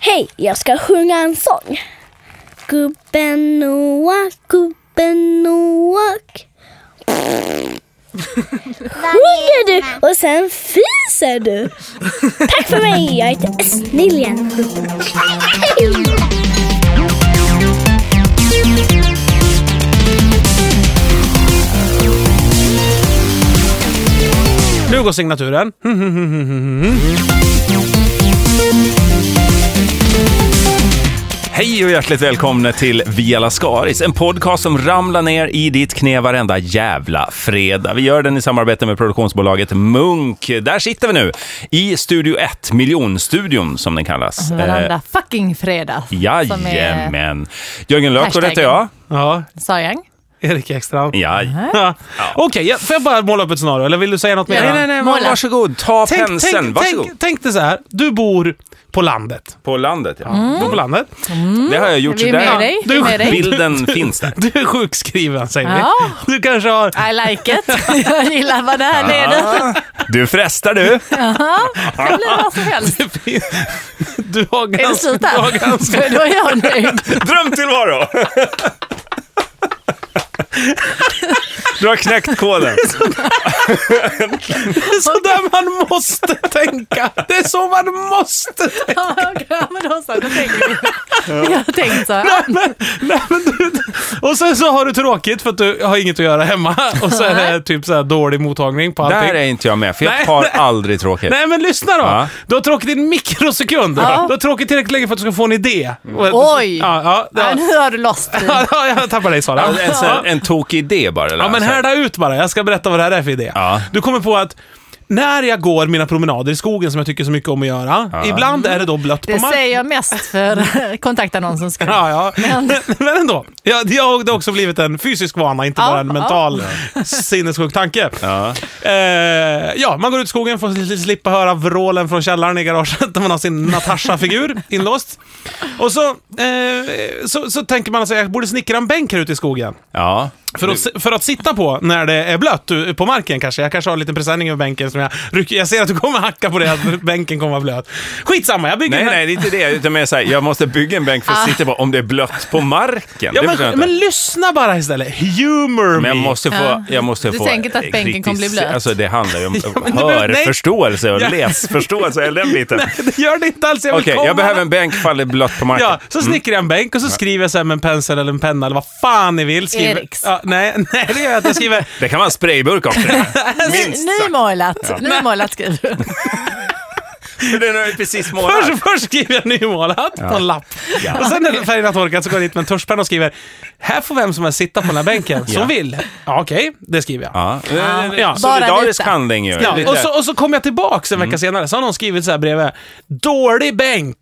Hej, jag ska sjunga en sång. Gubben Noak, gubben Noak. Sjunger du och sen fiser du. Tack för mig, jag heter Snillen. Nu går signaturen. Hej och hjärtligt välkomna till Via Lascaris, en podcast som ramlar ner i ditt knä varenda jävla fredag. Vi gör den i samarbete med produktionsbolaget Munk. Där sitter vi nu, i Studio 1, miljonstudion som den kallas. Eh, Varenda fucking fredag. Mm, Som är jajamän. Jörgen Lööf, heter jag. Ja, Sajang. Erik Ekstrand. Ja. Mm. Ja. Okej, ja, får jag bara måla upp ett scenario? Eller vill du säga något mer? Ja. Nej, nej, nej. Måla. Varsågod, ta Tänk, penseln. tänk, Varsågod. tänk, tänk dig så här. Du bor på landet. På landet, ja. Du bor på landet. Det har jag gjort. Vi Mm. är så där. med dig. Vi är med dig. Bilden finns där. Du är sjukskriven, säger vi. Ja. Du kanske har... I like it. Jag gillar vad det här leder. Du frestar du. Det blir vad som helst. Du har Är det ganska... slut där? Då är jag nöjd. Drömtillvaro! Du har knäckt koden. Det är så där man måste tänka. Det är så man måste tänka. Ja, okej, ja, men då så. Då tänker vi. Vi har tänkt så här. Men, nej, men du, och sen så har du tråkigt för att du har inget att göra hemma. Och så är det typ så här dålig mottagning på allting. Där är inte jag med, för Nej, jag har nej. aldrig tråkigt. Nej men lyssna då! Ja. Du har tråkigt i en mikrosekund. Ja. Du har tråkigt tillräckligt länge för att du ska få en idé. Oj. Ja, ja, Ja, ja. nu har du lost dig. ja jag tappar dig Sara. En, sån här- en tokig idé bara. eller? Ja men härda ut bara, jag ska berätta vad det här är för idé. Ja. Du kommer på att när jag går mina promenader i skogen som jag tycker så mycket om att göra, ibland är det då blött Det på marken. säger jag mest för kontaktannonsens skull. Ja, ja. Men, men ändå. Ja, det har det har också blivit en fysisk vana, inte Ja, bara en ja. mental sinnessjuk tanke. Ja. Eh, ja, man går ut i skogen för att sli- slippa höra vrålen från källaren i garaget där man har sin Natasha-figur inlåst. Och så, eh, så, så tänker man att jag borde snickra en bänk här ute i skogen. Ja. För att, för att sitta på när det är blött u- på marken kanske. Jag kanske har en liten presenning över bänken som jag rycker. Jag ser att du kommer hacka på det, att bänken kommer vara blöt. Skitsamma, jag bygger Nej, den här- nej, det är inte det. Utan mer så här, jag måste bygga en bänk för att sitta på om det är blött på marken. Ja, det förstår jag men, inte. men lyssna bara istället. Humor Men jag me. måste få... Ja. Jag måste Du få tänker inte att bänken kritisk- kommer bli blöt? Alltså det handlar ju om men du behöver- nej. hörförståelse och Ja. läsförståelse, eller den biten. Det gör det inte alls. Jag vill Okej, komma. jag behöver en bänk ifall det är blött på marken. Ja, så snickrar jag en bänk och så skriver jag så här med en pensel eller en penna eller vad fan ni vill. Skriver, Eriks. ja, nej, nej, det gör jag inte. Jag skriver Det kan vara en sprayburk också. Ny- Minst sagt. Nymålat. Nymålat skriver du. För Den har ju precis målat. Först, först skriver jag nymålat på en lapp. Ja. Och sen när färgen har torkat så går jag dit med en tuschpenna och skriver Här får vem som helst sitta på den här bänken som Ja. vill. Ja, okej, det skriver jag. Ja. Ja. Solidarisk Bara handling ju. Ja, Lite- Mm. och, så, och så kom jag tillbaks en vecka senare, så har någon skrivit så här bredvid. Dålig bänk.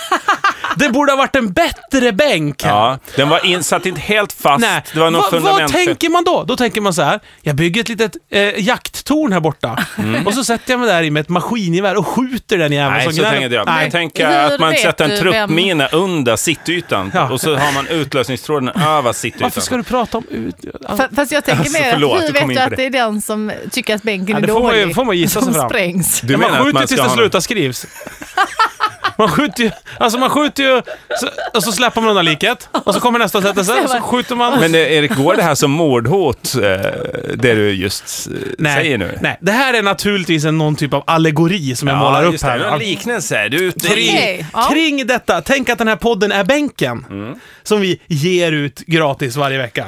det borde ha varit en bättre bänk. här." Mm. Ja, den var in, satt inte helt fast. Nej. Det var något Va, vad fundament. tänker man då? Då tänker man så här, jag bygger ett litet eh, jakttorn här borta. Och så sätter jag mig där i med ett maskingevär och skjuter den jäveln Mm. Nej, som så gnäller. tänker inte jag. Nej. Jag tänker Hur att man vet sätter en du truppmina under sittytan Ja. och så har man utlösningstråden över sittytan. Varför ska du prata om ut... Fa- Fast jag tänker mer, förlåt, du hur kom vet in du på att det. det är den som tycker att bänken Ja, är det får man ju- dålig får man gissa sig som fram. sprängs? Du man menar att skjuter man tills ska det ha någon... slutar skrivs. Man skjuter ju, alltså man skjuter ju, så, och så släpper man undan liket, och så kommer nästa sättelse, och så skjuter man. Men eh, Erik, går det här som mordhot, eh, det du just eh, säger nu? nej, det här är naturligtvis en, någon typ av allegori som jag målar upp just det. här. Det är En liknelse. Du är ute Kring, i... Okej, ja. kring detta, tänk att den här podden är bänken Mm. som vi ger ut gratis varje vecka.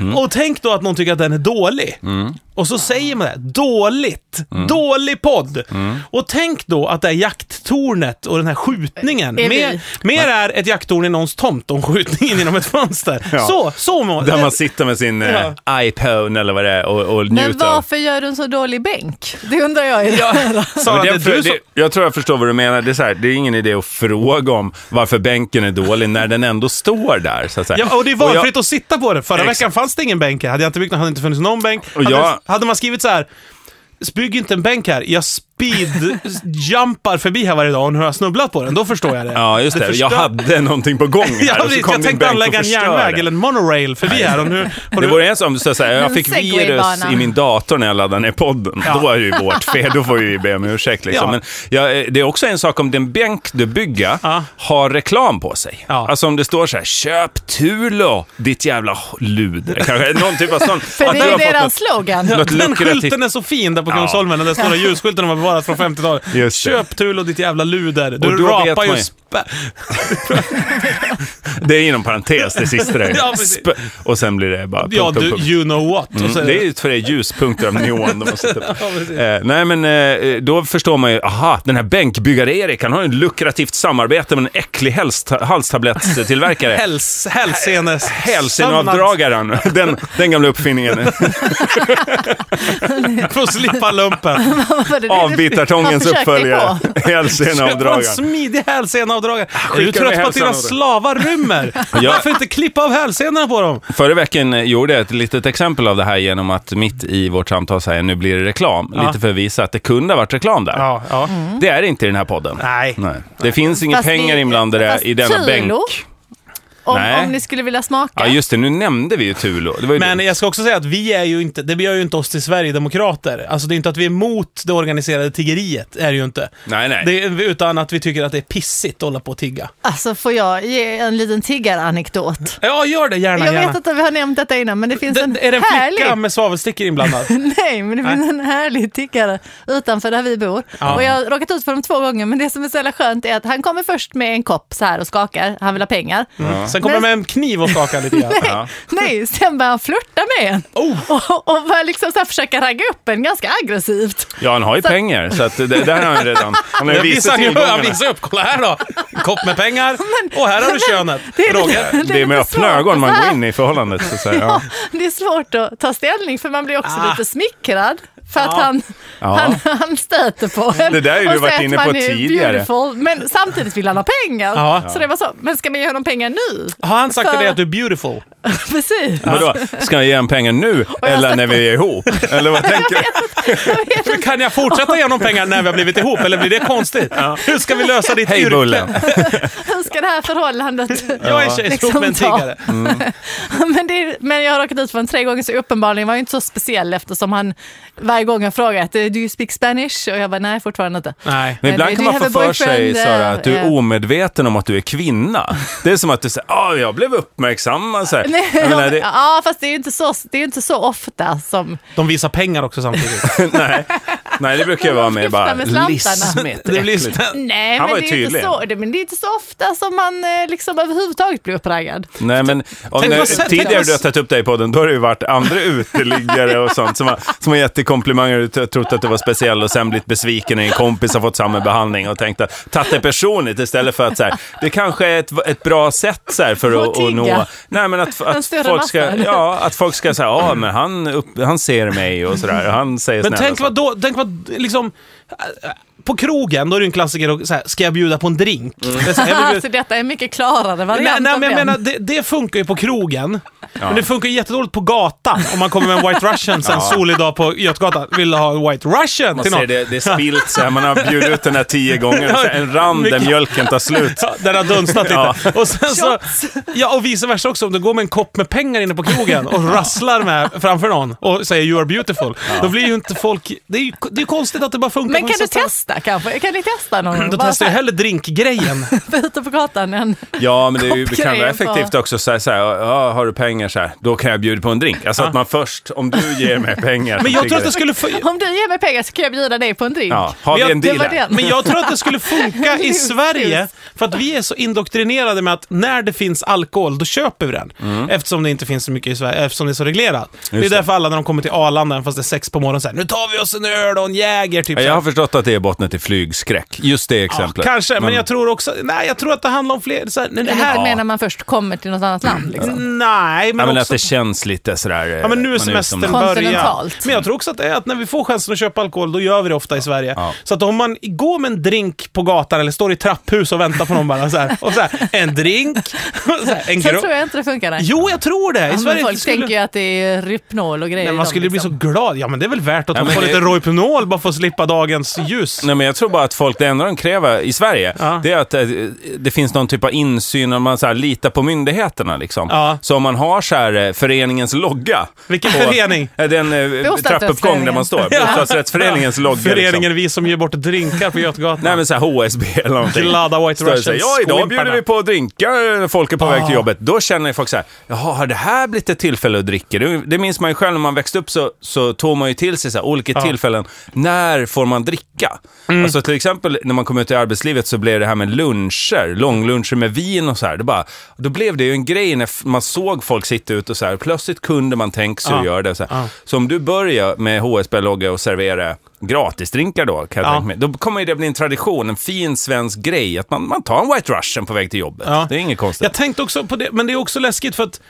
Mm. Och tänk då att någon tycker att den är dålig. Och så säger man det, här, dåligt, Mm. dålig podd. Och tänk då att det här jakttornet och den här skjutningen, Är vi? mer, mer är ett jakttorn i någons tomt och en skjutning genom ett fönster. Ja. Så, så må, Där man sitter med sin eh, iPhone eller vad det är och, och Men njuter. av- varför gör du en så dålig bänk? Det undrar jag ju. Sara, Men det, det, är du det, som... jag tror jag förstår vad du menar. Det är, så här, det är ingen idé att fråga om varför bänken är dålig när den ändå står där. Så att säga. Ja, och det är jag- valfritt att sitta på det. Förra Exakt. veckan fanns det ingen bänk här. Hade jag inte byggt den hade det inte funnits någon bänk. Och Hade, jag- hade man skrivit så här, "S- bygg inte en bänk här, jag sp- speedjumpar förbi här varje dag och nu har jag snubblat på den, då förstår jag det. Ja, just det. Jag förstör- hade någonting på gång här Ja, och så precis, kom jag din tänkte bänk och anlägga en förstörde. järnväg eller en monorail förbi här och nu har du... Det vore en som så att säga, jag En fick virus segwaybana. i min dator när jag laddade ner podden. Då är det ju vårt fel, då får vi be om ursäkt. Liksom. Ja. Men jag, det är också en sak om den bänk du bygger Ja. har reklam på sig. Ja. Alltså om det står så här, köp Tulo, ditt jävla luder. Kanske någon typ av sån. För att det du har är fått deras något- slogan. något Den lukrativt- skylten är så fin där på Kungsholmen, den där stora ljusskylten de har bevarat från 50-talet. Just det. Köp Tulo ditt jävla luder. Och Du då vet rapar ju man ju. spä... Det är inom parentes, det sista där. Ja, precis. Sp- och sen blir det bara... Ja, punkt, punkt, du, punkt. you know what. Och så- Mm, det är ju tre ljuspunkter av neon de har satt upp. precis. eh, nej, men eh, då förstår man ju, aha, den här bänkbyggare-Erik, han har ju ett lukrativt samarbete med en äcklig hälsta- halstablettstillverkare. Häls, hälsenes... Hälsenavdragaren, den, den gamla uppfinningen. För att slippa lumpen. Vad det är det du- han Avbitartångens försökte uppföljare. på. Köpa en Hälsenavdragaren. smidig hälseneavdragare. Är du skickar med trött på att dina hälsenavdrag. slavar rymmer? Ja. Varför inte klippa av hälsenorna på dem? Förra veckan eh, gjorde jag ett litet exempel av det här genom att mitt i vårt samtal säga nu blir det reklam. Lite för att visa att det kunde ha varit reklam där. Ja, ja. Det är det inte i den här podden. Nej. Nej. Det finns inga Fast pengar vi- inblandade fast i denna Tulo? bänk. Om, Nej. om ni skulle vilja smaka. Ja, just det. Nu nämnde vi ju Tulo. Det var ju Men dumt. jag ska också säga att vi är ju inte, det gör ju inte oss till Sverigedemokrater. Alltså det är inte att vi är emot det organiserade tiggeriet, är det ju inte. Nej, nej. Det, är- utan att vi tycker att det är pissigt att hålla på och tigga. Alltså får jag ge en liten tiggaranekdot? Ja, gör det gärna, Jag gärna. vet att vi har nämnt detta innan men det finns en det, är det en härlig... flicka med svavelstickor inblandad? Nej, men det finns en härlig tickare utanför där vi bor. Ja. Och jag har råkat ut för dem två gånger, men det som är så jävla skönt är att han kommer först med en kopp så här och skakar, han vill ha pengar. Mm. Sen kommer Men- med en kniv och skakar lite grann. Ja. Nej, sen börjar han flirta med en Oh. och, och börjar liksom så här försöka ragga upp en ganska aggressivt. ja, han har ju pengar, så att det, där har han ju redan. Han har ju Jag visat visar, ju- tillgångarna. jag visar upp, kolla här då! En kopp med pengar, och här har du könet. det är- Roger. det Det är med lite öppna svårt. ögon man går in i förhållandet. Så att säga. Ja. Det är svårt att ta ställning för man blir också Ah. lite smickrad för att han, Ja. han, han stöter på en. Det där har ju och du varit säger att inne på man är tidigare. Beautiful, men samtidigt vill han ha pengar. Ja. Så det var så, men ska man ge honom pengar nu? Har han sagt till För- dig att du är beautiful? Precis. Vadå, ska jag ge honom pengar nu jag eller sa- när vi är ihop? Eller vad tänker du? Kan jag fortsätta ge honom pengar när vi har blivit ihop, eller blir det konstigt? Hur ska vi lösa ditt Hej yrke? Bullen! Hur ska det här förhållandet... Jag är tjejskrot Liksom med en ta. tiggare. men, det är, men jag har råkat ut för en tre gånger så uppenbarligen var jag inte så speciell eftersom han varje gång jag frågat do you speak Spanish? Och jag bara nej fortfarande inte. Nej. Men Men ibland du- kan du man få have för a sig boyfriend, Sara, eh, att du är eh. omedveten om att du är kvinna. Det är som att du säger ah jag blev uppmärksammad. Så här. Nej, Jag menar, det, Ja fast det är ju inte så, det är inte så ofta som... De visar pengar också samtidigt. nej, nej, det brukar ju vara mer Vifta bara med slantarna. lismigt. Det blir äckligt. stä- Nej Han men var det, ju är ju inte tydlig. så, det, men det är inte så ofta som man eh, liksom överhuvudtaget blir uppraggad. Nej, men om Tänk nu- vad sen- tidigare tänk du har vad- tagit upp dig i podden, då har det ju varit andra uteliggare och sånt som har, som har gett dig komplimanger och t- trott att du var speciell och sen blivit besviken när en kompis har fått samma behandling och tänkt att tagit det personligt istället för att så här, det kanske är ett, ett bra sätt så här, för att, Att att nå... tigga. Nej, men att, att, större folk ska, massa. ja, att folk ska säga, ja, men han, upp, han ser mig och sådär, han säger Men snälla tänk vad, saker. då, tänk vad liksom... äh, äh, På krogen, då är det ju en klassiker och så här, ska jag bjuda på en drink? Mm. Det är så här, jag vill bjuda- Alltså detta är en mycket klarare Nej, variant nej av men jag den. menar, det, det funkar ju på krogen. Men det funkar ju jättedåligt på gatan om man kommer med en White Russian sen solig dag på Götgatan. Vill du ha en White Russian Man till ser någon? det, det är spilt så här, man har bjudit ut den här tio gånger, så här, en rand där Mycket- mjölken tar slut. Ja, den har dunstat lite. Ja. Och sen så, ja, och vice versa också. Om du går med en kopp med pengar inne på krogen och rasslar med framför någon och säger “You are beautiful”, då blir ju inte folk... Det är ju det är ju konstigt att det bara funkar Men på kan du vissa ställen. testa kanske? Kan ni testa någon gång? Då Bara testar jag så hellre drinkgrejen. här, ute på gatan än... Ja, men det är ju, Kopp kan vara grejen på- effektivt också. Så här, så här, ja, har du pengar så här, då kan jag bjuda på en drink. Alltså att man först, om du ger mig pengar. Men så jag tycker tror att det skulle... fu- Om du ger mig pengar så kan jag bjuda dig på en drink. Ja, har Men jag- vi en det deal var här? den. Men jag tror att det skulle funka i Sverige, för att vi är så indoktrinerade med att när det finns alkohol, då köper vi den. Eftersom det inte finns så mycket i Sverige, eftersom det är så reglerat. det är Mm. det. därför alla när de kommer till Arlanda, även fast det är sex på morgonen, säger nu tar vi oss en öl och en Jäger, typ Ja, så Jag här. har förstått att det är bottnet i flygskräck. Just det exemplet. Kanske, men jag tror också, nej jag tror att det handlar om fler, så här, nej, det här, Mm. menar man först kommer till något annat land. Liksom. nej men, Ja, men att också, det känns lite sådär... ja men nu är semestern börjar. Kontinentalt. Men jag tror också att det är att när vi får chansen att köpa alkohol, då gör vi det ofta i Sverige. Ja. Så att om man går med en drink på gatan eller står i trapphus och väntar på någon bara så här, och så här, en drink, och så här, en Så gro- tror jag inte det funkar. Nej. Jo, jag tror det. I Ja, men Sverige folk skulle... tänker ju att det är Rypnol och grejer. Nej, man i dem, skulle bli så liksom. glad. Ja, men det är väl värt att Ja, man men får det- lite Rohypnol bara för att slippa dagen dagens ljus. Nej, men jag tror bara att folk, det enda de kräver i Sverige, Ja. det är att eh, det finns någon typ av insyn och man så här, litar på myndigheterna. Liksom. Ja. Så om man har så här, eh, föreningens logga. Vilken på- förening? Eh, Den eh, trappuppgång där man står. Ja. Bostadsrättsföreningens logga. Liksom. Föreningen Vi som ger bort drinkar på Götgatan. Nej men så här HSB eller någonting. Glada White Står det så här, Russians, Ja, idag skolpärna." bjuder vi på drinkar när folk är på väg till jobbet. Då känner folk så här, jaha, har det här blivit ett tillfälle att dricka? Det, det minns man ju själv när man växte upp så, så tog man ju till sig så här, olika tillfällen. När får man dricka? Mm. Alltså till exempel när man kom ut i arbetslivet så blev det här med luncher, långluncher med vin och så här. Det bara, då blev det ju en grej när f- man såg folk sitta ut och så här, plötsligt kunde man tänka sig att Ja. göra det. Så, här. Ja. så om du börjar med HSB-logga och servera gratisdrinkar då, kan jag Ja. tänka mig. Då kommer ju det bli en tradition, en fin svensk grej, att man, man tar en White Russian på väg till jobbet. Ja. Det är inget konstigt. Jag tänkte också på det, men det är också läskigt för att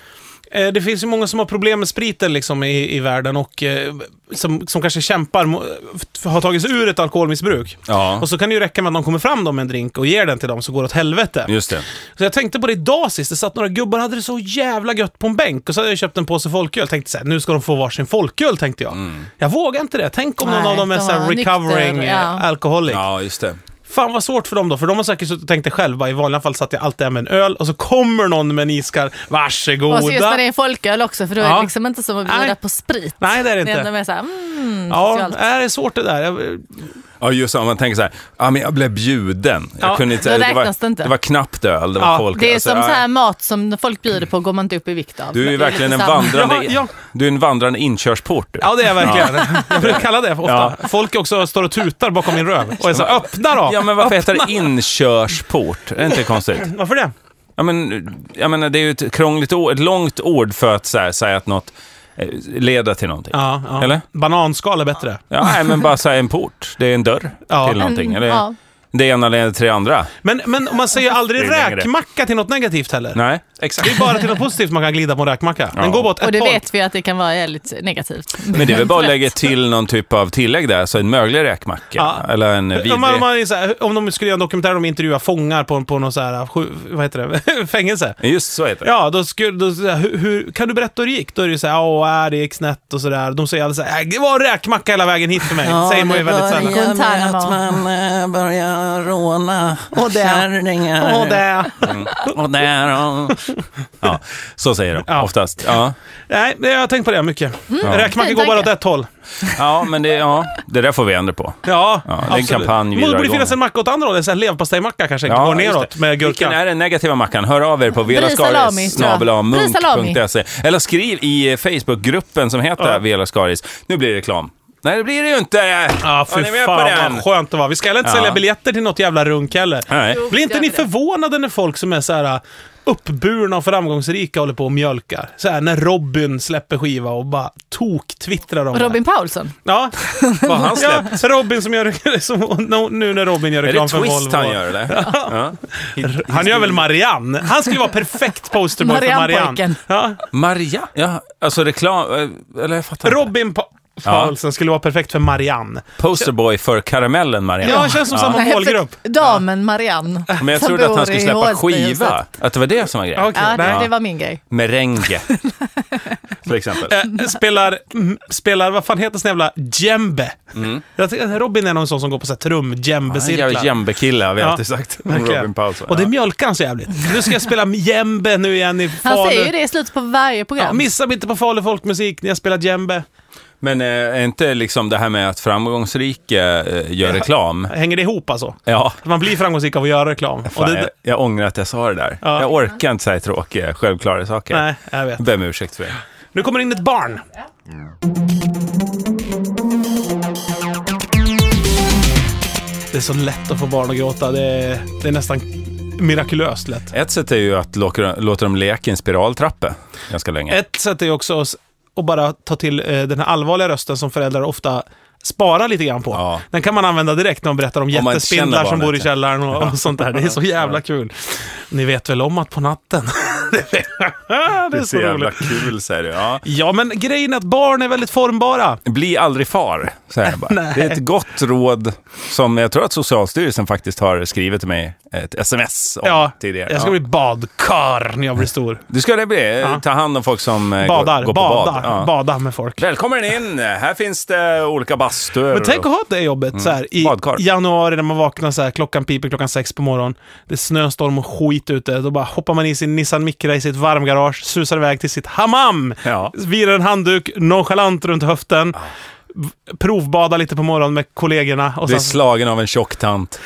eh, det finns ju många som har problem med spriten liksom i, i världen och eh, som, som kanske kämpar, mo- f- har tagit sig ur ett alkoholmissbruk. Ja. Och så kan det ju räcka med att någon kommer fram dem med en drink och ger den till dem så går det åt helvete. Just det. Så jag tänkte på det idag sist, det satt några gubbar och hade det så jävla gött på en bänk och så hade jag köpt en påse folköl. Tänkte såhär, nu ska de få varsin folköl tänkte jag. Mm. Jag vågar inte det. Tänk om någon Nej, av dem är de såhär var recovering nykter, eh, ja. alcoholic. Ja, just det. Fan vad svårt för dem då, för de har säkert suttit och tänkt det själva. I vanliga fall satt jag alltid där med en öl och så kommer någon med en iskall. Varsågoda. Och så just när det är folköl också, för då är Ja. det liksom inte som att bjuda Nej. på sprit. Nej, det är det inte. Det är ändå mer såhär, mm, Ja, socialt. är det är svårt det där. Jag- Ja, just det. Om man tänker så här, ja men jag blev bjuden. Jag Ja, kunde inte, då det, räknas var, det inte. det var knappt öl, det var Ja, folk. Det är alltså, som ja. så här mat som folk bjuder på går man inte upp i vikt av. Du är ju Det verkligen en lite samma. Mm, vandrande, Ja, ja. Du är en vandrande inkörsport. Du. Ja, det är jag verkligen. Jag brukar kalla det ofta. Folk också står och tutar bakom min röv och är så här, öppna då! Ja, men varför heter det inkörsport? Är det inte konstigt? Varför det? Ja, men, jag menar, det är ju ett krångligt ord, ett långt ord för att så här, säga att något eh, leder till någonting. Ja, ja. Eller? Bananskal är bättre. Ja, nej, men bara så här, en port. Det är en dörr Ja. till någonting. En- Eller, Mm, ja. Det ena leder till det andra. Men, men man säger aldrig Det är längre. räkmacka till något negativt heller. Nej, Det exakt. är bara till något positivt man kan glida på en räkmacka. Den Ja. går bara åt ett Och det håll. vet vi att det kan vara jävligt negativt. Men det är väl bara att lägga till någon typ av tillägg där, så en möglig räkmacka Ja. eller en vidrig... Om, man, om, man är så här, om de skulle göra en dokumentär om de intervjuar fångar på, på någon så här, sju, vad heter det, fängelse. Just så heter det. Ja, då skulle, då, så här, hur, hur, kan du berätta hur det gick? Då är det ju såhär, ja, äh, det gick snett och sådär. De säger alltid såhär, "Äh, det var en räkmacka hela vägen hit för mig. säger man ju väldigt sällan. börjar med att man börjar råna Och det. kärringar. Åh, det. Och där och... Ja, så säger de Ja. oftast. Ja. Nej, men jag har tänkt på det mycket. Mm. Räkmacka Fin går bara åt tanke. ett håll. ja, men det, ja, det där får vi ändra på. Ja, Ja, det är en kampanj vi Det drar borde igång. finnas en macka åt andra hållet, en leverpastejmacka kanske. Ja, går just neråt det. med gurka. Vilken är den negativa mackan? Hör av er på salami, tror jag. velaskaris.munk.se eller skriv i eh, Facebookgruppen som heter Ja. Vela Skaris. Nu blir det reklam. Nej, det blir det ju inte! Ja, Var Ah, fy fan vad skönt det var. Vi ska heller inte Ja. sälja biljetter till något jävla runk heller. Nej. Jo. Blir inte ni Gör det. förvånade när folk som är så här äh, uppburna och framgångsrika håller på och mjölkar? Så här när Robin släpper skiva och bara tok-twittrar om Robin Paulsson. det. Ja. Vad har han släppt? ja, så Robin som gör som, nu när Robin gör Är det reklam för twist Volvo. han gör eller? Ja. Han gör väl Marianne? Han skulle ju vara perfekt posterboy för Marianne. Marianne-pojken. Ja. Maria? Ja, alltså reklam... eh, Eller jag fattar inte. Robin pa- Paulsen skulle vara perfekt för Marianne. Posterboy för karamellen Maria. Ja, känns som samma målgrupp. Damen Marianne. Men jag som trodde att bor han skulle i släppa HSB -huset. skiva. Att det var det som var grejen. Okej, Ja, nej. det, det var min grej. Merengue. Till exempel. Eh, spelar, mm, spelar, vad fan heter sån jävla djembe? Mm. Jag tycker att Robin är någon sån som går på så här trum, En djembecirklar. jävla jembekille har vi Ja, alltid sagt. om verkligen. Robin Paulsson. Och det Ja. mjölkar han så jävligt. Nu ska jag spela djembe nu igen i Han Falu. säger ju det i slutet på varje Ja, program. missa mig inte på Falu folkmusik när jag spelar djembe. Men eh, är inte liksom det här med att framgångsrik eh, gör reklam? Hänger det ihop alltså? Ja. Att Man blir framgångsrik av att göra reklam. Och Fan, det, jag, jag ångrar att jag sa det där. Ja. Jag orkar inte säga tråkiga, självklara saker. nej, jag vet. Jag ber om ursäkt för det. Nu kommer in ett barn. Det är så lätt att få barn att gråta. Det är, det är nästan mirakulöst lätt. Ett sätt är ju att låta, låta dem leka i en spiraltrappa ganska länge. Ett sätt är ju också att s- att bara ta till eh, den här allvarliga rösten som föräldrar ofta sparar lite grann på. Ja. Den kan man använda direkt när de berättar om man inte känner jättespindlar som barnet, bor i ja. källaren och, och sånt där. Det är så jävla kul. Ni vet väl om att på natten det Det är är så så jävla roligt. kul, säger du. Ja. Ja, men grejen är att barn är väldigt formbara. Bli aldrig far, säger jag bara. Det är ett gott råd som jag tror att Socialstyrelsen faktiskt har skrivit till mig ett sms om Ja, tidigare. jag ska Ja. bli badkar när jag blir stor. Du ska det bli. Ta hand om folk som eh, Badar, går, går på bada, bad. Ja. bada med folk. Välkommen in! Här finns det olika bastuer. Men tänk att ha det jobbet så här, i Mm. Badkar. januari när man vaknar så här, klockan piper klockan sex på morgonen. Det är snöstorm och skit ute. Då bara hoppar man i sin Nissan Micra i sitt varmgarage, susar iväg till sitt hammam. Ja. Virar en handduk nonchalant runt höften. v- Provbada lite på morgonen med kollegorna. Och Bli sen slagen av en tjock tant.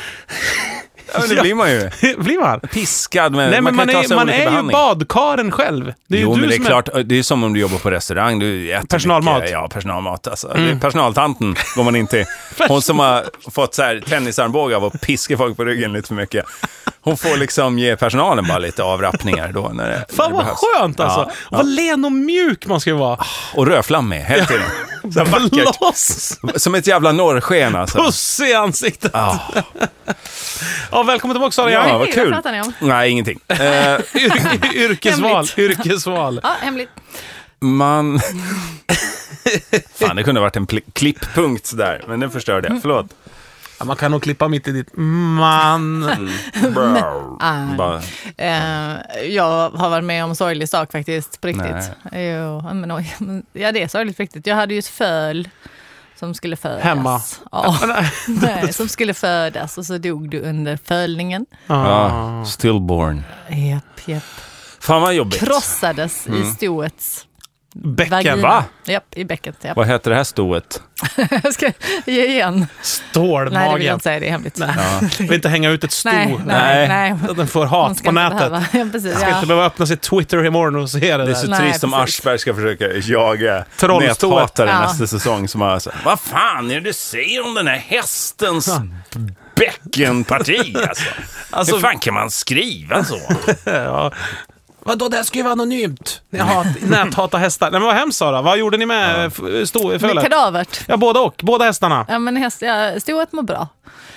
ja, men det Ja. blir man ju. blir man. Piskad, men Nej, men man, Eh, kan ju ta är, sig man olika är ju behandling. badkaren själv. Det är jo, ju men du det är som klart. Det är som om du jobbar på restaurang. Du äter Personalmat. Mm. Mycket, ja, personalmat. Alltså. Det är personaltanten går man in till. Hon som har fått så här tennisarmbåge av att piska folk på ryggen lite för mycket. Hon får liksom ge personalen bara lite avrappningar då. När det, Fan vad när det behövs. skönt alltså! Ja. Vad len och mjuk man ska ju vara. Och rödflammig, hela tiden. Så här vackert. Blås! Som ett jävla norrsken alltså. Puss i ansiktet! Ah. Ja, välkommen tillbaka Sara Ja, Young. vad Hej, kul. vad pratar ni om? Nej, ingenting. Eh, Yr- Yrkesval, Hemligt. yrkesval. Ja, hemligt. man... Fan, det kunde ha varit en pl- klipppunkt där, men den förstörde jag. Förlåt. Ja, man kan nog klippa mitt i ditt man. Ah. Bara, Eh, jag har varit med om sorglig sak faktiskt, på riktigt. Jo, ja, men, oj, men- ja, det är sorgligt på riktigt. Jag hade ju ett föl som skulle födas. Hemma? Ja, nej, som skulle födas och så dog du under fölningen. ja, stillborn. Japp, japp. Fan vad jobbigt. Krossades i stoets Bäcken. vagina. Va? Japp, i bäcket. Japp. Vad heter det här stoet? Jag ska ge igen. Nej, det vill jag Stålmagen. inte säga. Det är hemligt. Nej, Vill inte hänga ut ett sto. nej, Så nej. att den får Man hat ska på inte nätet. behöva- Ja, precis, Ska inte ja. behöva öppna sitt Twitter imorgon och se det Det är så där. Nej, trist om precis. Aschberg ska försöka jaga Trollstoet. näthatare Ja. nästa säsong som bara så här, Vad fan är det du säger om den här hästens bäckenparti alltså? Alltså- Hur fan kan man skriva så? Ja. Vadå, det här ska ju vara anonymt. Ni hat, näthata hästar. Nej men vad hemskt Sara. Vad gjorde ni med eh, f- stå- Med fölet? kadavert. Ja, både och. Båda hästarna. Ja, men häst, ja, stoet mår bra.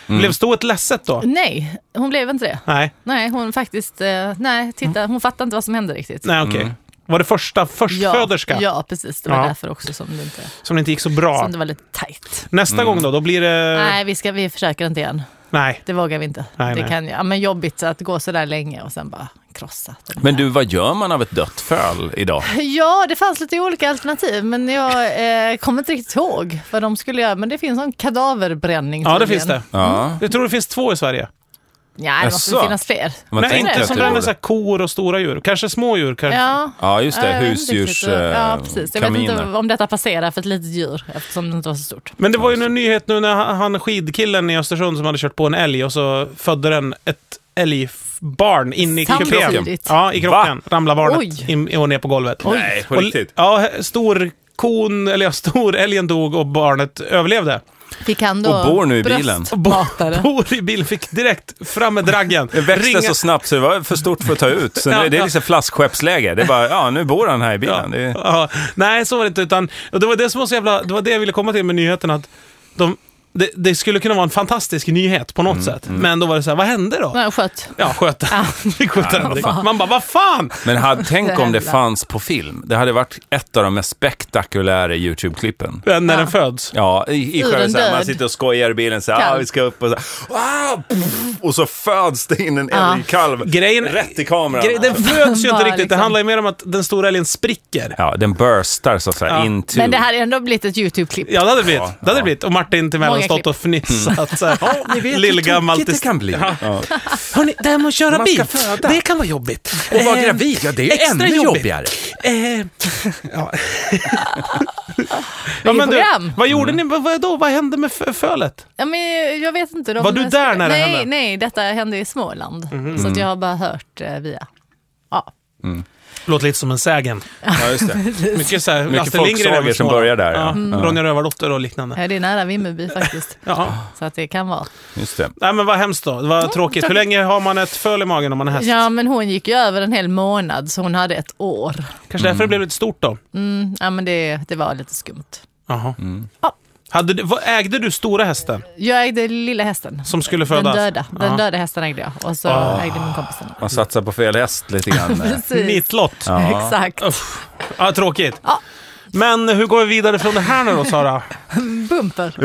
Mm. Blev stået ledset då? Nej, hon blev inte det. Nej, Nej, hon faktiskt, eh, nej, titta, hon fattade inte vad som hände riktigt. nej okej. Var det första förstföderska Ja, ja, precis. Det var Ja. därför också som det inte, som det inte gick så bra? som det var lite tajt. Nästa gång då? Då blir det... Nej, vi, ska, vi försöker inte igen. Nej. Det vågar vi inte. Eh. Nej, det nej. kan ju- ja, men jobbigt att gå så där länge och sen bara krossa. Men du, vad gör man av ett dött föl idag? Ja, det fanns lite olika alternativ, men jag eh, kommer inte riktigt ihåg vad de skulle göra. Men det finns en kadaverbränning. Ja, det tydligen. finns det. Ja. Jag tror det finns två i Sverige. Ja, det måste Jaså? väl finnas fler. Man Nej, tänker inte att som det bränner borde- så här kor och stora djur. Kanske små djur. Kanske. Ja. Ja, just det. Ja, jag vet inte Husdjurs... riktigt. Ja, eh, precis. Jag vet inte Kaminer. om detta passerar för ett litet djur eftersom det inte var så stort. Men det var ju en nyhet nu när han- han skidkillen i Östersund som hade kört på en älg och så födde den ett älgbarn in i kupén. Samtidigt. Ja, i kroppen. Ramlade barnet Oj. in, och ner på golvet. Nej, på Och- riktigt. Ja, stor kon, eller ja, stor älgen dog och barnet överlevde. Fick han då Och bor nu i bilen. bröstmatare? Bor i bilen, fick direkt fram med draggen. Det växte Ringa- så snabbt så det var för stort för att ta ut. Så Ja, nu, det är ja. liksom flaskskeppsläge. Det är bara, ja, nu bor han här i bilen. Det är, Ja, nej, så var det inte. Utan, och det var det som var så jävla, det var det jag ville komma till med nyheten. Att de, det, det skulle kunna vara en fantastisk nyhet på något Mm, sätt. Men då var det så här, vad hände då? Nej, sköt. Ja, sköt Vi sköt den. Man bara, vad fan! men hade, tänk om det Jävlar. fanns på film. Det hade varit ett av de mest spektakulära YouTube-klippen. Men När den föds. Ja, i, i Ur själva en så här, man död. sitter och skojar i bilen så här, Kalv. ah, vi ska upp och så här, ah, pff, och så föds det in en Ja. älgkalv Grejen- rätt i kameran. Gre- Den föds ju inte Bara riktigt. Det liksom. handlar ju mer om att den stora älgen spricker. Ja, den burstar så att säga Ja. into... Men det hade ändå blivit ett YouTube-klipp. Ja, det hade det blivit. Ja, det hade ja. det blivit. Och Martin till mellan Många stått klipp. och fnissat. så här. Ni vet hur Lillgammal tokigt till- det kan bli. Ja. Ja. Hörni, det här med att köra Man ska bil, föda. det kan vara jobbigt. Och vara Ehm, Eh, gravid, ja det är ju extra ännu jobbigt. jobbigare. Eh, ja. ja, Vilket men du, program. vad gjorde Mm. ni? Vad, vadå? vad hände med f- fölet? Ja, men jag vet inte. De Var du där när det nej, hände? Mhm. Mm. Nej, detta hände i Småland. Så att jag har bara hört eh, via. Ja. Låter lite som en sägen. Ja, just det. Mycket, så här, Mycket Astrid Lindgren folksagor är väl som smål. börjar där, ja. Mm. Ronja Rövardotter och liknande. Ja, Det är nära Vimmerby faktiskt. Ja. Så att det kan vara. Just det. Nej, men vad hemskt då. Det var tråkigt. Hur länge har man ett föl i magen om man är häst? Ja, men hon gick ju över en hel månad så hon hade ett år. Kanske därför det blev lite stort då. Mm, ja, men det, det var lite skumt. Jaha. Ja, Hade du, vad, ägde du stora hästen Jag ägde lilla hästen. som skulle Den födas? döda. Den Ja. Ah. döda hästen ägde jag och så ägde min kompis den. Man satsar på fel häst lite grann. Precis. Nitlott. Ja. Exakt. tråkigt. Ja. Men hur går vi vidare från det här nu då, Sara? Bumper.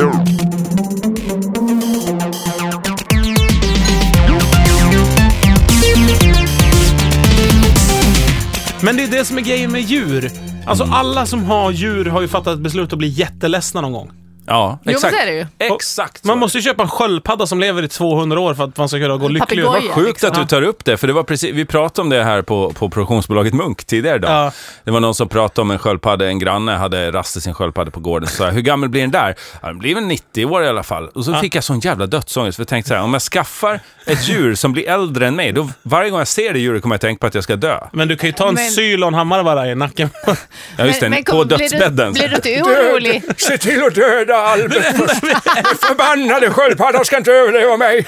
Men det är det som är grejen med djur. Alltså Mm. alla som har djur har ju fattat ett beslut att bli jätteledsna någon gång. Ja, Jo, men exakt. så är det ju. Exakt så. Man måste ju köpa en sköldpadda som lever i 200 år för att man ska kunna gå lycklig ur- Papegoja. Vad sjukt liksom. att du tar upp det, för det var precis, vi pratade om det här på, på produktionsbolaget Munk tidigare idag. Ja. Det var någon som pratade om en sköldpadda, en granne hade rastat sin sköldpadda på gården. Så sa jag, hur gammal blir den där? Ja, den blir väl 90 år i alla fall. Och så fick jag sån jävla dödsångest, för jag tänkte så här, om jag skaffar ett djur som blir äldre än mig, då varje gång jag ser det djuret kommer jag tänka på att jag ska dö. Men du kan ju ta en Men- sylonhammarvara i nacken. Ja, just det, på kom, dödsbädden. Blir du, blir du inte Död! orolig? Se till att döda Albert! Den förbannade sköldpaddan ska inte överleva mig!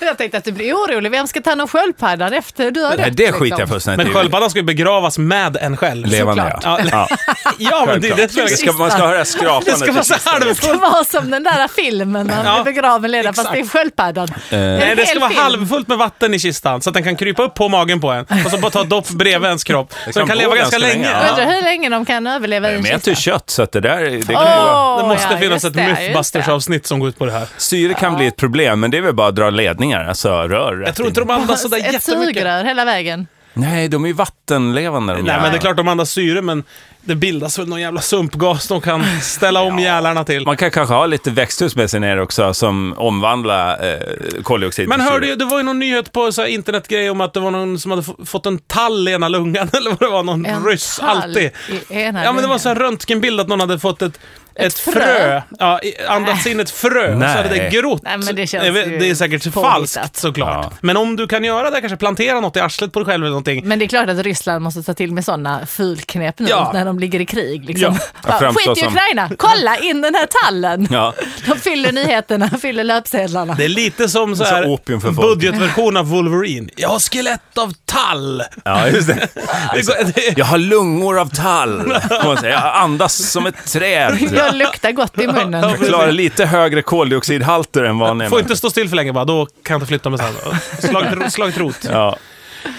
Jag tänkte att du blir orolig. Vem ska ta hand om sköldpaddan efter du har Nej, dött, det skiter jag liksom? fullständigt Men i. sköldpaddan ska ju begravas med en själv. Levande, Ja, ja. le- ja. ja men det är det som Det ska, är man ska höra skrapandet. Det ska vara så Det halvfullt. var som den där filmen när han Ja, blir begraven leda fast exakt. Eh. det är sköldpaddan. Nej, det ska Hel vara film. halvfullt med vatten i kistan så att den kan krypa upp på magen på en och så bara ta dopp bredvid ens kropp. Så den kan kan gå leva ganska, ganska länge. länge, Jag Ja. Undrar hur länge de kan överleva i en Men jag äter kista. ju kött, så att det där det kan ju vara... Åh, Det måste ja, finnas just ett det, just det. Mythbusters-avsnitt som går ut på det här. Syre kan bli ett problem, men det är väl bara att dra ledningar, alltså rör. rätt Jag tror inte in. de andas sådär Ett Alltså, jättemycket. sugrör hela vägen. Nej, de är ju vattenlevande de Nej, där. men det är klart de andas syre, men det bildas väl någon jävla sumpgas de kan ställa om gälarna till. Man kan kanske ha lite växthus med sig ner också som omvandlar eh, koldioxid Men till hörde syre. ju, det var ju någon nyhet på så här internetgrej om att det var någon som hade f- fått en tall i ena lungan, eller vad det var, någon En ryss, tall alltid. i ena Ja, men det var lungan. så här röntgenbild att någon hade fått ett, ett, frö, frö? Ja, i- andats in ett frö, och så Nej. hade det grott. Nej, men det känns Jag vet- ju det är säkert påhittat. falskt såklart. Ja. Men om du kan göra det, kanske plantera något i arslet på dig själv eller någonting. Men det är klart att Ryssland måste ta till med sådana fulknep nu Ja. när de ligger i krig. Liksom. Ja. Bara, framstå Skit i som- Ukraina, kolla in den här tallen! Ja. De fyller nyheterna, fyller löpsedlarna. Det är lite som så Så här opium för folk. budgetversion av Wolverine. Jag har skelett av tall. ja, just det. Det går, det, Jag har lungor av tall. kan man säga. Jag andas som ett träd. Jag luktar gott i munnen. Ja, Jag klarar lite högre koldioxidhalter än vanliga Får inte stå still för länge bara, då kan jag inte flytta mig sen. Slagit, slagit rot. Ja,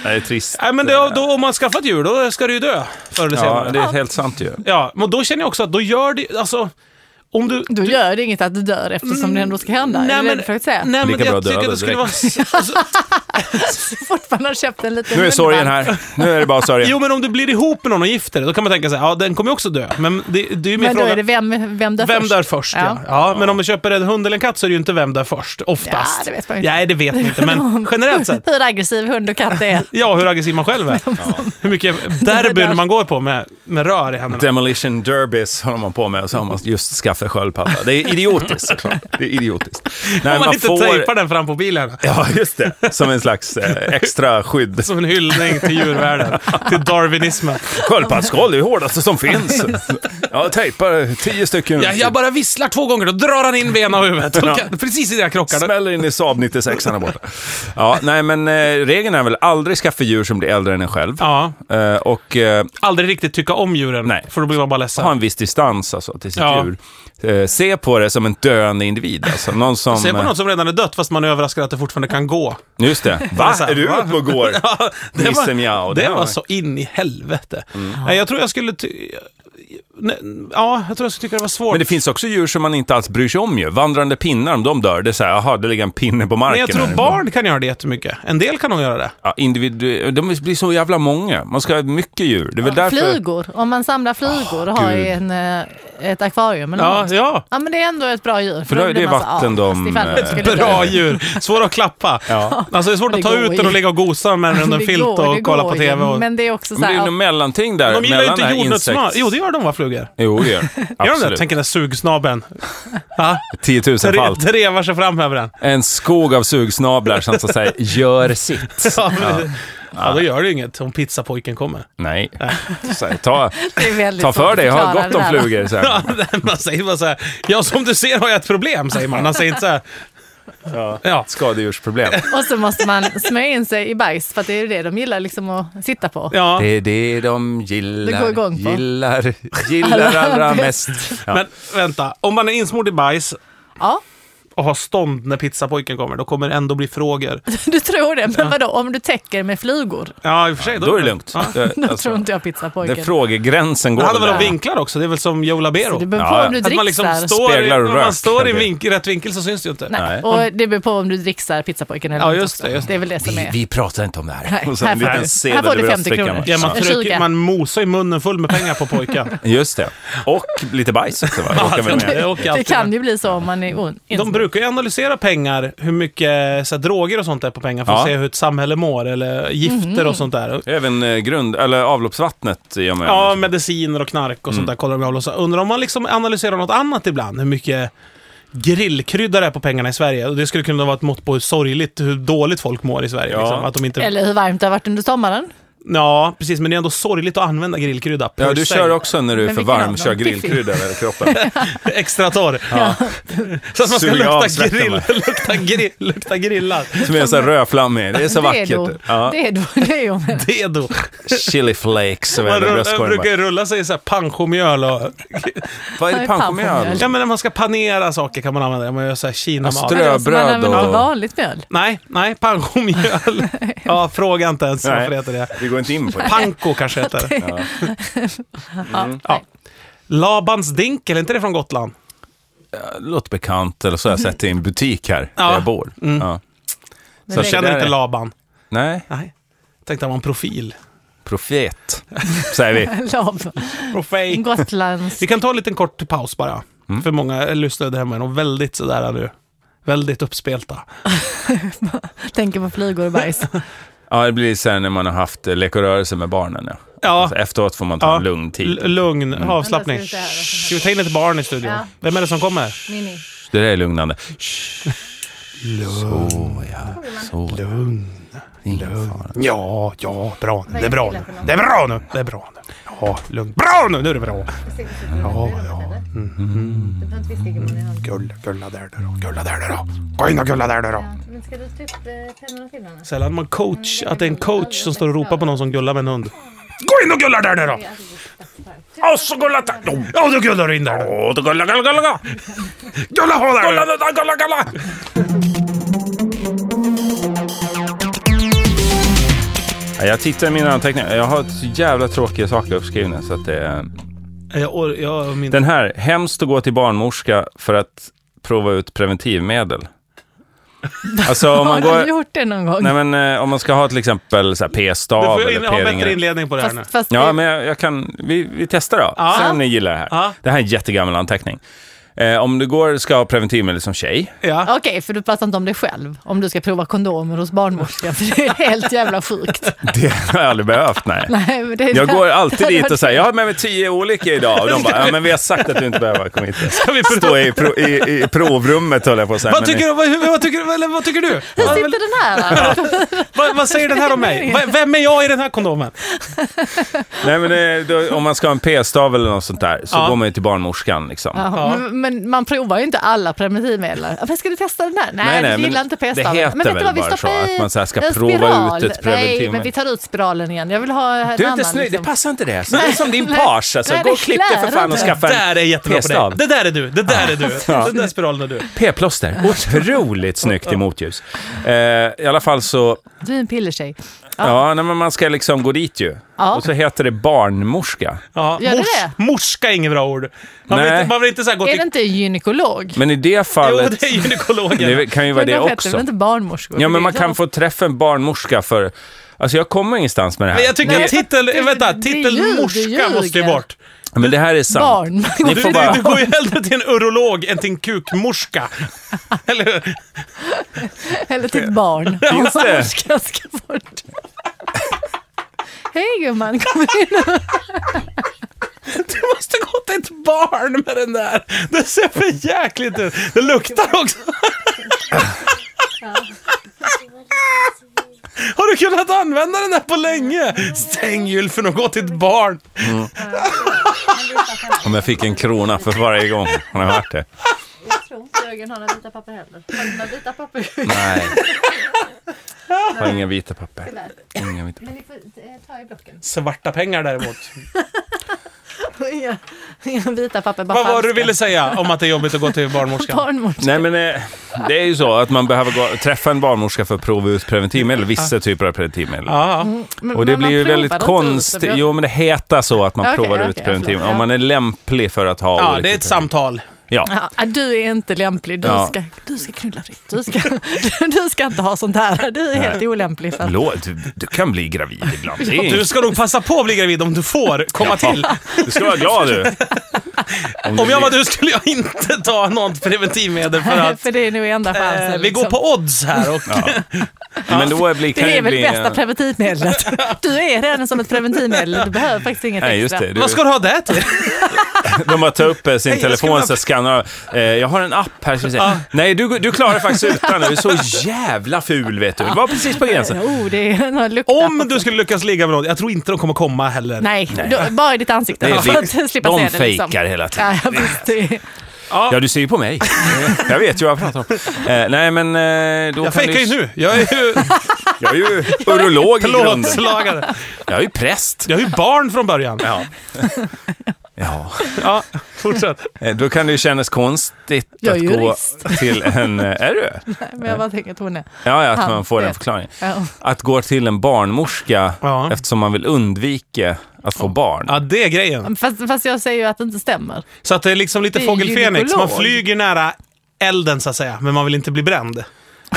det är trist. Nej, men det, då, om man skaffar ett djur, då ska det ju dö förr eller Ja, senare. det är helt sant ju. Ja, men då känner jag också att då gör det, alltså, om du... Då gör det inget att du dör eftersom det ändå ska Mm, hända. är du rädd för att säga? nej, men Lika bra jag att tycker döda att det skulle vara... alltså, Fortfarande har köpt en liten Nu är sorgen munnband. här. Nu är det bara sorgen. jo, men om du blir ihop med någon och gifter dig, då kan man tänka sig, ja, den kommer ju också dö. Men det, det är ju mer Men då frågan, är det vem, vem dör vem först? dör först? Ja. Ja. Ja. men om du köper en hund eller en katt så är det ju inte vem dör först, oftast. Ja, det vet man ju inte. Nej, det vet man inte, men generellt sett. Hur aggressiv hund och katt är. Ja, hur aggressiv man själv är. Hur mycket derbyn man går på med, med rör i händerna. Demolition derbys håller man på med och så har man just skaffat sköldpadda. Det är idiotiskt såklart. Det är idiotiskt. Nej, Om man, inte tejpar den fram på bilen. Ja, just det. Som en slags eh, extra skydd. Som en hyllning till djurvärlden, till darwinismen. Sköldpaddsskal, det är det hårdaste som finns. Jag tejpar tio stycken. Ja, jag bara visslar två gånger, då drar han in benen av huvudet. Och kan, precis i det jag krockar. Då- Smäller in i Saab 96 här borta. Ja, nej men eh, regeln är väl aldrig skaffa djur som blir äldre än en själv. Ja, Eh, och eh, aldrig riktigt tycka om djuren, Nej. för då blir man bara ha ledsen. en viss distans alltså, till sitt Ja. djur. Eh, se på det som en döende individ. Alltså, någon som... Se på någon som redan är dött fast man är överraskad att det fortfarande kan gå. Just det. Va? Så här, Är du va? ute och går? Ja, det Nisse Miao, var, det det var- var så in i helvete. Nej, Jag tror jag skulle... Ty- Nej, ja, jag tror jag skulle tycka det var svårt. Men det finns också djur som man inte alls bryr sig om ju. Vandrande pinnar, om de dör, det är så här, jaha, det ligger en pinne på marken. Men jag här. tror barn kan göra det jättemycket. En del kan nog göra det. Ja, individu- de blir så jävla många. Man ska ha mycket djur. Det är väl därför... Flugor, om man samlar flugor och har Gud. i en, eh, ett akvarium eller Ja, något. ja. Ja men det är ändå ett bra djur. För då det är blir man så, vatten ja, de, fast ifall de eh, skulle Bra dö. djur. Svåra att klappa. Ja. Alltså det är svårt att Det ta går ut den ju. och ligga och gosa med den under en Det filt går, det och kolla går på ju, TV. Och... Men det är också Men så det här, är ju ja, något mellanting där. De gillar ju inte mellan det här jordnötssmör. insekts- Jo, det gör de va, flugor? Jo, det gör Gör de det? Absolut. Tänk den där sugsnabeln. Va? 10 000 fall. Dre- Drevar sig fram över den. En skog av sugsnablar som så att säga gör sitt. Ja, men- ja, då gör det ju inget om pizzapojken kommer. Nej. Så här, ta, det är väldigt ta svårt för att dig, jag har Liksom gott förklara om det där. flugor. Så här. Ja, man säger bara så här, ja som du ser har jag ett problem, säger man. Man säger inte så här, Ja. Skadedjursproblem. Och så måste man smörja in sig i bajs för att det är ju det de gillar liksom att sitta på. Ja. Det är det de Det gillar, går igång på. gillar, gillar allra mest. Ja. Men vänta, om man är insmord i bajs Ja, och har stånd när pizzapojken kommer, då kommer det ändå bli frågor. du tror det. Men vadå, om du täcker med flugor? Ja, i och för sig. då är det lugnt. Ja. Det- Då alltså, tror inte jag det pizzapojken. är frågegränsen går Det hade väl där. de vinklar också? Det är väl som Joe Så Labero? det beror på Ja, ja. om du Att dricksar. man liksom står i, Speglar och om man rök, står i kanske. vink, rätt vinkel så syns det ju inte. Nej. Nej. Och det beror på om du dricksar pizzapojken eller Ja, inte just också. det, just det. är väl det som Vi, är. vi pratar inte om det här. Nej, Och så en här får liten du- sedel här får du över 50 bröstfickan kronor. också. Ja, man, En trycker, tjuga. man mosar i munnen full med pengar på pojkar. Just det. Och lite bajs också. Va? Råkar väl med. det åker Det alltid kan med. ju bli så om man är on- De insmord. brukar ju analysera pengar, hur mycket så här, droger och sånt är på pengar, för att Ja. se hur ett samhälle mår, eller gifter Mm. och sånt där. Även eh, grund, eller avloppsvattnet gör man Ja, mediciner och knark och sånt Mm. där kollar de av. och så- Undrar om man liksom analyserar något annat ibland, hur mycket grillkrydda det är på pengarna i Sverige. Och Det skulle kunna vara ett mått på hur sorgligt, hur dåligt folk mår i Sverige. Ja. Liksom. Att de inte... Eller hur varmt det har varit under sommaren. Ja, precis, men det är ändå sorgligt att använda grillkrydda. per Ja, du se. kör också när du är Men för vilken av varm, dem? kör grillkrydda över kroppen. Extra torr. Så att man ska Suga av lukta svetten, grill, va? lukta grill, lukta grillad. Som är så här rödflammig. Det är så Det är då, vackert. Ja. det är då, det är ju Det är då. Chili flakes över Man hela rull, bröstkorgen. bara. brukar rulla sig i så här panchomjöl och... Vad är det? Pankomjöl? Pankomjöl. Ja, men när man ska panera saker kan man använda det. Man gör så här kinamat. Strö- Alltså, man bröd använder och- vanligt mjöl. Nej, nej, panchomjöl. Ja, fråga inte ens varför det heter det. Vi går inte in på det. Panko kanske heter det. Mm. Ja, Ja. Labans dinkel, är inte det från Gotland? Låter bekant, eller så har jag sett det i en butik här, Ja. där jag bor. Ja. Så jag det- känner det är inte det. Laban. Nej, Nej. Tänkte han var en profil. profet, säger vi. Lav. Profej. Gotlands. Vi kan ta en liten kort paus bara. För många lyssnare där hemma är nog väldigt sådär nu. Väldigt uppspelta. Tänker på flugor och bajs. Ja, det blir sen när man har haft eh, lek och rörelse med barnen. Ja. Ja. Alltså, efteråt får man ta en lugn tid. L- lugn avslappning. Vänta, ska vi se här. Ska vi ta in ett barn i studion? Ja. Vem är det som kommer? Mini. Det där är lugnande. Så ja, så. Lugn. Ingen fara. Ja, ja, bra nu. Det är bra nu. Det är bra nu. Det är bra nu. Ja, lugn. Bra nu! Nu är det bra. Ja, ja. Mm. Gulla, gulla där du då. Gulla där du då. Gå in och gulla där du då. Men ska du ta upp eh, pennorna till varandra? Sällan man coach, att det är en coach som står och ropar på någon som gullar med en hund. Gå in och gulla där nu då! Och så gulla där! Ja, då gullar du in där då. Åh, gulla, gulla, gulla, gulla! Gulla på där! Gulla, nu. gulla, gulla, gulla! Ja, Jag tittar i mina anteckningar. Jag har så jävla tråkiga saker uppskrivna. Så att det är... Jag, or- jag, min... Den här, hemskt att gå till barnmorska för att prova ut preventivmedel. Alltså om man Har du går... gjort det någon gång? Nej men eh, om man ska ha till exempel så här Du p-stav får in, eller ha bättre p-ringar. inledning på det här nu. Fast, fast Ja men jag, jag kan, vi, vi testar då. Ja. Se om ni gillar det här. Ja. Det här är en jättegammal anteckning. Eh, om du går ska ha preventivmedel som tjej. Ja. Okej, för du pratar inte om dig själv. Om du ska prova kondomer hos barnmorskan. För det är helt jävla sjukt. Det har jag aldrig behövt, nej. Nej, men det är Jag det. går alltid dit och säger, jag har med mig tio olika idag. Och de bara, ja men vi har sagt att du inte behöver komma hit. Ska vi prova? Stå i, pro, i, i provrummet höll jag på att säga. Vad men- tycker, du, vad, vad, tycker, du- eller vad tycker du? Hur Vad- sitter den här då? Vad, vad säger den här om mig? V- Vem är jag i den här kondomen? Nej, men eh, då, om man ska ha en p-stav eller något sånt där så Ja. går man ju till barnmorskan. Liksom. Ja, men, men man provar ju inte alla preventivmedel. Ja, Men ska du testa den där? Nej, du gillar men inte p-staven. det heter men vet du väl vad, vi bara stoppar så, i att man så här ska en prova spiral. ut ett Nej, preventivmedel. men vi tar ut spiralen igen. Jag vill ha en Du är annan. inte snygg, det liksom. passar inte det. Så det är som din page. Alltså. Nej, Gå det och klipp dig för klär fan och inte. skaffa Det där är en jättebra på dig. p-stav. Det där är du. Det där är du. Den där spiralen är du. P-plåster. Otroligt snyggt i motljus. Eh, I alla fall så, Du är en pillertjej. ja, nej, men man ska liksom gå dit ju. Ja. Och så heter det barnmorska. Ja, Gör det mors, morska är inget bra ord. Man vill, Nej. inte, man vill inte så här gå Är det till... inte gynekolog? Men i det Jo, fallet, det är gynekologen. det kan ju vara Men det de heter väl också. inte barnmorskor? Ja, Det är men man kan de- få träffa en barnmorska för, alltså jag kommer ingenstans med det här. Men jag tycker Nej, att titel... det- Vänta, det titel ljuger, morska ljuger. måste ju bort. Men det här är sant. Barn. Ni Du, får bara... du, du går ju hellre till en urolog än till en kukmorska. Eller hur? Eller till ett barn. Just det. Barnmorskan ska bort. Hej gumman, kom in. Du måste gå till ett barn med den där. Det ser för jäkligt ut. Det luktar också. Har du kunnat använda den där på länge? Stäng gylfen och gå till ett barn. Om jag fick en krona för varje gång han har varit det. Jag tror inte Jörgen har några vita papper heller. Har du några vita papper? Nej. Har inga vita papper. Tyvärr. Inga vita papper. Men ni får eh, ta i blocken. Svarta pengar däremot. Inga, inga vita papper, bara Vad var det du falska. ville säga om att det är jobbigt att gå till barnmorskan? Barnmorska. Nej, men eh, det är ju så att man behöver gå, träffa en barnmorska för att prova ut preventivmedel, vissa typer av preventivmedel. Ja, Men- Och det men man blir ju provar väldigt inte ut. konstigt. Det blir- Jo, men det heter så att man Okej, provar okej, ut jag preventivmedel. förstår. Om Ja. man är lämplig för att ha ja olika det är ett typer. samtal. Ja. Ja, ah, du är inte lämplig. Du, Ja. ska, du ska knulla fritt. Du ska, du ska inte ha sånt här. Du är helt Nej. olämplig. För att, Lå, du, du kan bli gravid ibland. Det är Du inget- ska nog passa på att bli gravid om du får komma till. Du ska vara glad du. Om, du Om jag var blir- du skulle jag inte ta något preventivmedel för att... för det är nog enda chansen. Eh, vi går liksom. på odds här och Men då blir, kan Det är väl bli, bästa preventivmedlet. Du är redan som ett preventivmedel. Du behöver faktiskt inget Nej, just extra. det. Du, vad ska du ha det till? De bara tar upp eh, sin Nej, jag telefon ska så bara- skannar eh, Jag har en app här. Ska vi se. Nej, du, du klarar faktiskt utan. Du är så jävla ful vet du. Det var precis på gränsen. Oh, det är någon lukta. Om du skulle lyckas ligga med någon, jag tror inte de kommer komma heller. Nej, då- bara i ditt ansikte. Det är för vitt. att slippa De se det, liksom. fejkar hela tiden. Ja, visst, det- Ja, du ser ju på mig. Jag vet ju vad jag pratar om. Eh, nej, men eh, då Jag kan fejkar du... ju nu. Jag är ju Jag är ju urolog i grunden. plåtslagare. Jag är ju präst. Jag är ju barn från början. Ja. Ja. Ja, fortsätt. Eh, Då kan det ju kännas konstigt Jag att är gå jurist. till en... eh, Är du? Men jag bara tänker att hon är... Ja, ja, att Han man får den vet. förklaringen. Ja. Att gå till en barnmorska Ja. eftersom man vill undvika att få barn. Ja, det är grejen. Fast, fast jag säger ju att det inte stämmer. Så att det är liksom lite Det är fågelfenix. Man gynekolog. flyger nära elden så att säga, men man vill inte bli bränd.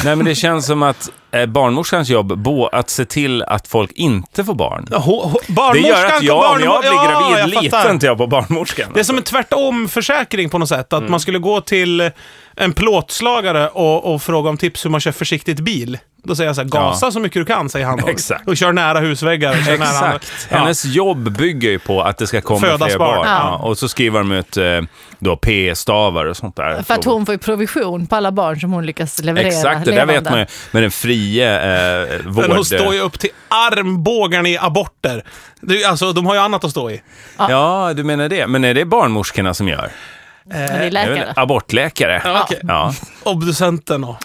Nej, men det känns som att eh, barnmorskans jobb, bo, att se till att folk inte får barn. Ho- ho- Det gör Barnmorskan att kom- jag, om jag barnmo- blir Ja, gravid, jag litar fattar. inte jag på barnmorskan. Det är som en tvärtom-försäkring på något sätt. Att Mm. man skulle gå till en plåtslagare och, och fråga om tips hur man kör försiktigt bil. Då säger jag så här, gasa så mycket du kan, säger han då. Exakt. Och kör nära husväggar. Och kör Nära andra- Exakt. ja. Hennes jobb bygger ju på att det ska komma Födas fler barn. barn. Ja. Och så skriver de ut eh, då p-stavar och sånt där. För att hon får ju provision på alla barn som hon lyckas leverera Exakt, det där levande. vet man ju. Med den frie eh, vård... Men hon står ju upp till armbågarna i aborter. Det, är ju- alltså, de har ju annat att stå i. Ja, du menar det. Men är det barnmorskorna som gör? Men det är Det är väl läkare. abortläkare. Ja, okej. Ja. Obducenten och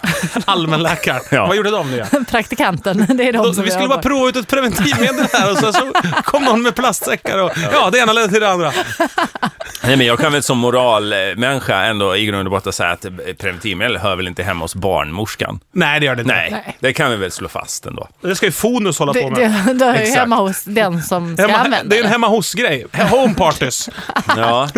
allmänläkaren. Ja. Vad gjorde de nu? Praktikanten, det är Då, de som Alltså, vi gör skulle bara abort. prova ut ett preventivmedel här och sen så kom någon med plastsäckar och ja, det ena ledde till det andra. Nej, men jag kan väl som moralmänniska ändå i grund och botten säga att eh, preventivmedel hör väl inte hemma hos barnmorskan? Nej, det gör det inte. Nej, Nej. det kan vi väl slå fast ändå. Det ska ju Fonus hålla på det, med. det, det är ju Exakt. hemma hos den som ska Hemma, använda det är en hemma hos-grej. Home parties. Ja,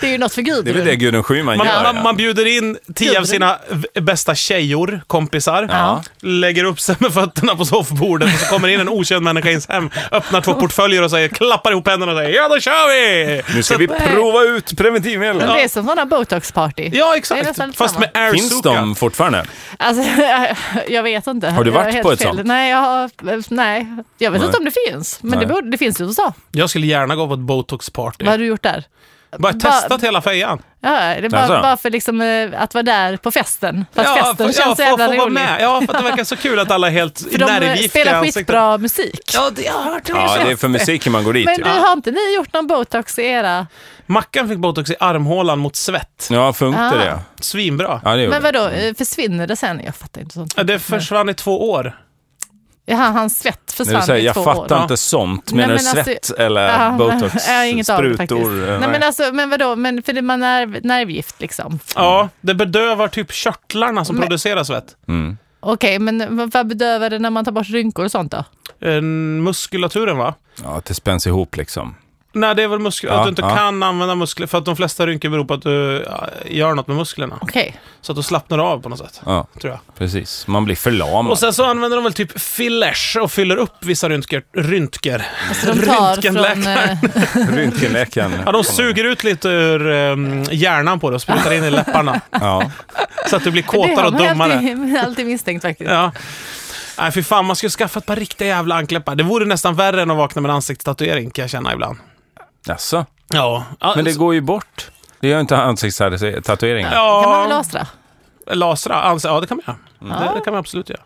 Det är ju något för Gud. det är väl det Gudrun Schyman Man, gör. man, ja. man bjuder in tio av sina v- bästa tjejor, kompisar, Ja. lägger upp sig med fötterna på soffbordet och så kommer in en okänd människa i ens hem, öppnar Oh. två portföljer och säger, klappar ihop händerna och säger ja då kör vi! Nu ska vi prova ut preventivmedel. Men det är som sådana botox-party. Ja Det är exakt, nästan fast med air Finns de fortfarande? Alltså, jag vet inte. du Jag varit är helt på ett fel. sånt? Nej, jag, har- nej, jag vet Nej. inte om det finns. Men det, Nej. borde, det finns i USA. Jag skulle gärna gå på ett botox-party. Vad har du gjort där? Bara testat hela fejan. Ja, det är bara, Alltså. bara för liksom, eh, att vara där på festen. För att festen för- känns så för att jävla få vara rolig. med. Ja, för att det verkar så kul att alla är helt För de eh, nervgiftiga i spelar ansiktet. skitbra musik. Ja, det har jag hört. Ja, det är för musiken man går dit. Men ju. du, har inte ni gjort någon botox i era... Mackan fick botox i armhålan mot svett. Ja, funkar det? Svinbra. Ja, det gjorde Men det. vadå, eh, försvinner det sen? Jag fattar inte sånt. Ja, Det försvann i två år. Ja, hans svett När du försvann säger i jag två fattar år. inte sånt, Nej, menar du men alltså- svett eller Ja, botox, jag har inget av det faktiskt. sprutor? Eh, Nej, men, alltså, men vadå, men för det- man är nervgift liksom. Ja, det bedövar typ körtlarna som Men- producerar svett. Mm. Okej, men vad- vad bedövar det när man tar bort rynkor och sånt då? Eh, muskulaturen va? Ja, att det spänns ihop liksom. Nej, det är väl muskler, Ja, att du inte ja. kan använda muskler, för att de flesta rynkor beror på att du ja, gör något med musklerna. Okej. Så att du slappnar av på något sätt, Ja, tror jag. precis. Man blir förlamad. Och sen så använder de väl typ fillers och fyller upp vissa ryntger. ryntger. Så alltså, de tar från... Röntgenläkaren. eh, Röntgenläkaren. Ja, de suger ut lite ur ehm, hjärnan på det och sprutar in i läpparna. Ja. Så att du blir Det kåtare har och man ju dummare. alltid, alltid misstänkt faktiskt. Ja. Nej, fy fan, man skulle skaffa ett par riktiga jävla ankläppar. Det vore nästan värre än att vakna med en ansiktstatuering, kan jag känna ibland. Jaså? Ja, Men det går ju bort. Det gör inte ansiktstatueringar. Det kan man väl Ja, lasra? lasra. Alltså, ja, det kan man göra. Mm. Det, det kan man absolut göra.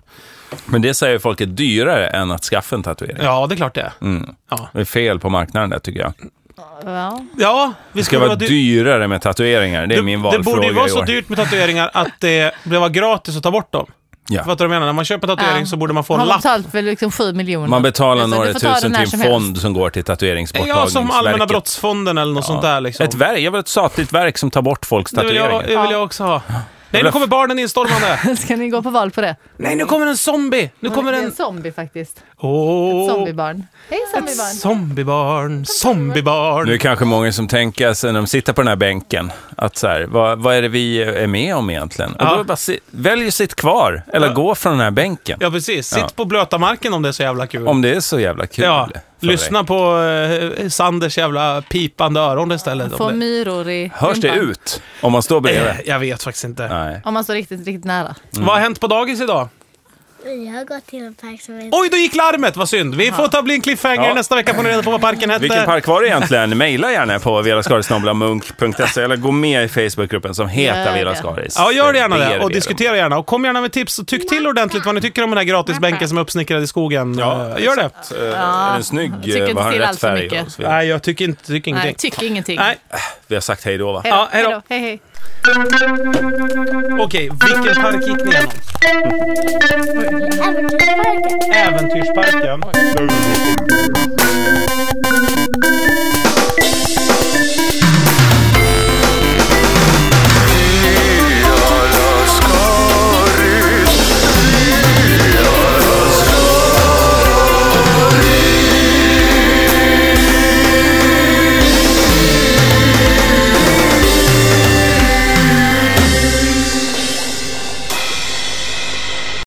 Men det säger folk är dyrare än att skaffa en tatuering. Ja, det är klart det är. Mm. Ja. Det är fel på marknaden där tycker jag. Ja. Ja, vi Det ska vara dyrare med tatueringar, det är Det min valfråga borde ju vara i så år. dyrt med tatueringar att det borde vara gratis att ta bort dem. Ja. Fattar du vad jag menar? När man köper tatuering Ja. så borde man få en Har man lapp. betalat för liksom sju miljoner? Man betalar Alltså, några du får ta tusen den när till som en helst. fond som går till tatueringsborttagningsverket. Ja, som Allmänna brottsfonden eller något sånt där liksom. Ett verk, jag vill ha ett statligt verk som tar bort folks det vill jag, tatueringar. det vill jag också ha. Nej, nu kommer barnen instormande. Ska ni gå på val på det? Nej, nu kommer en zombie! Nu kommer det är en en... zombie faktiskt. Åh, Zombiebarn. Hej ett zombiebarn! zombiebarn. Zombiebarn. Nu är det kanske många som tänker sig när de sitter på den här bänken, att så här, vad, vad är det vi är med om egentligen? Och Ja. då bara si, välj sitt kvar, eller gå från den här bänken. Ja, precis. Sitt Ja. på blöta marken om det är så jävla kul. Om det är så jävla kul. ja, för lyssna dig. på eh, Sanders jävla pipande öron istället. om Få det- myror i Hörs det rumpan. ut om man står bredvid? Eh, Jag vet faktiskt inte. Nej. Mm. Om man står riktigt, riktigt nära. Vad har hänt på dagis idag? Vi har gått till en park som heter... Oj, då gick larmet! Vad synd. Vi får ta bli en cliffhanger Ja. nästa vecka får ni reda på vad parken hette. Vilken park var det egentligen? Mejla gärna på velaskarisnablamunk.se eller gå med i Facebookgruppen som Gör heter det. Vela Skaris. Ja, gör gärna Ber det vi och om. diskutera gärna. Och kom gärna med tips och tyck till ordentligt vad ni tycker om den här gratisbänken som är uppsnickrad i skogen. Ja, Eh, gör det. Eh, Är den snygg? eh, tycker inte Vad har den till rätt allt för färg? mycket. Och så vidare. Nej, jag tycker inte, tycker ingenting. Nej, tycker ingenting. Nej. Vi har sagt hej då, va? Hej då, Ja, hej då. hej då. Hej, hej. Okej, vilken park gick ni igenom? Äventyrsparken.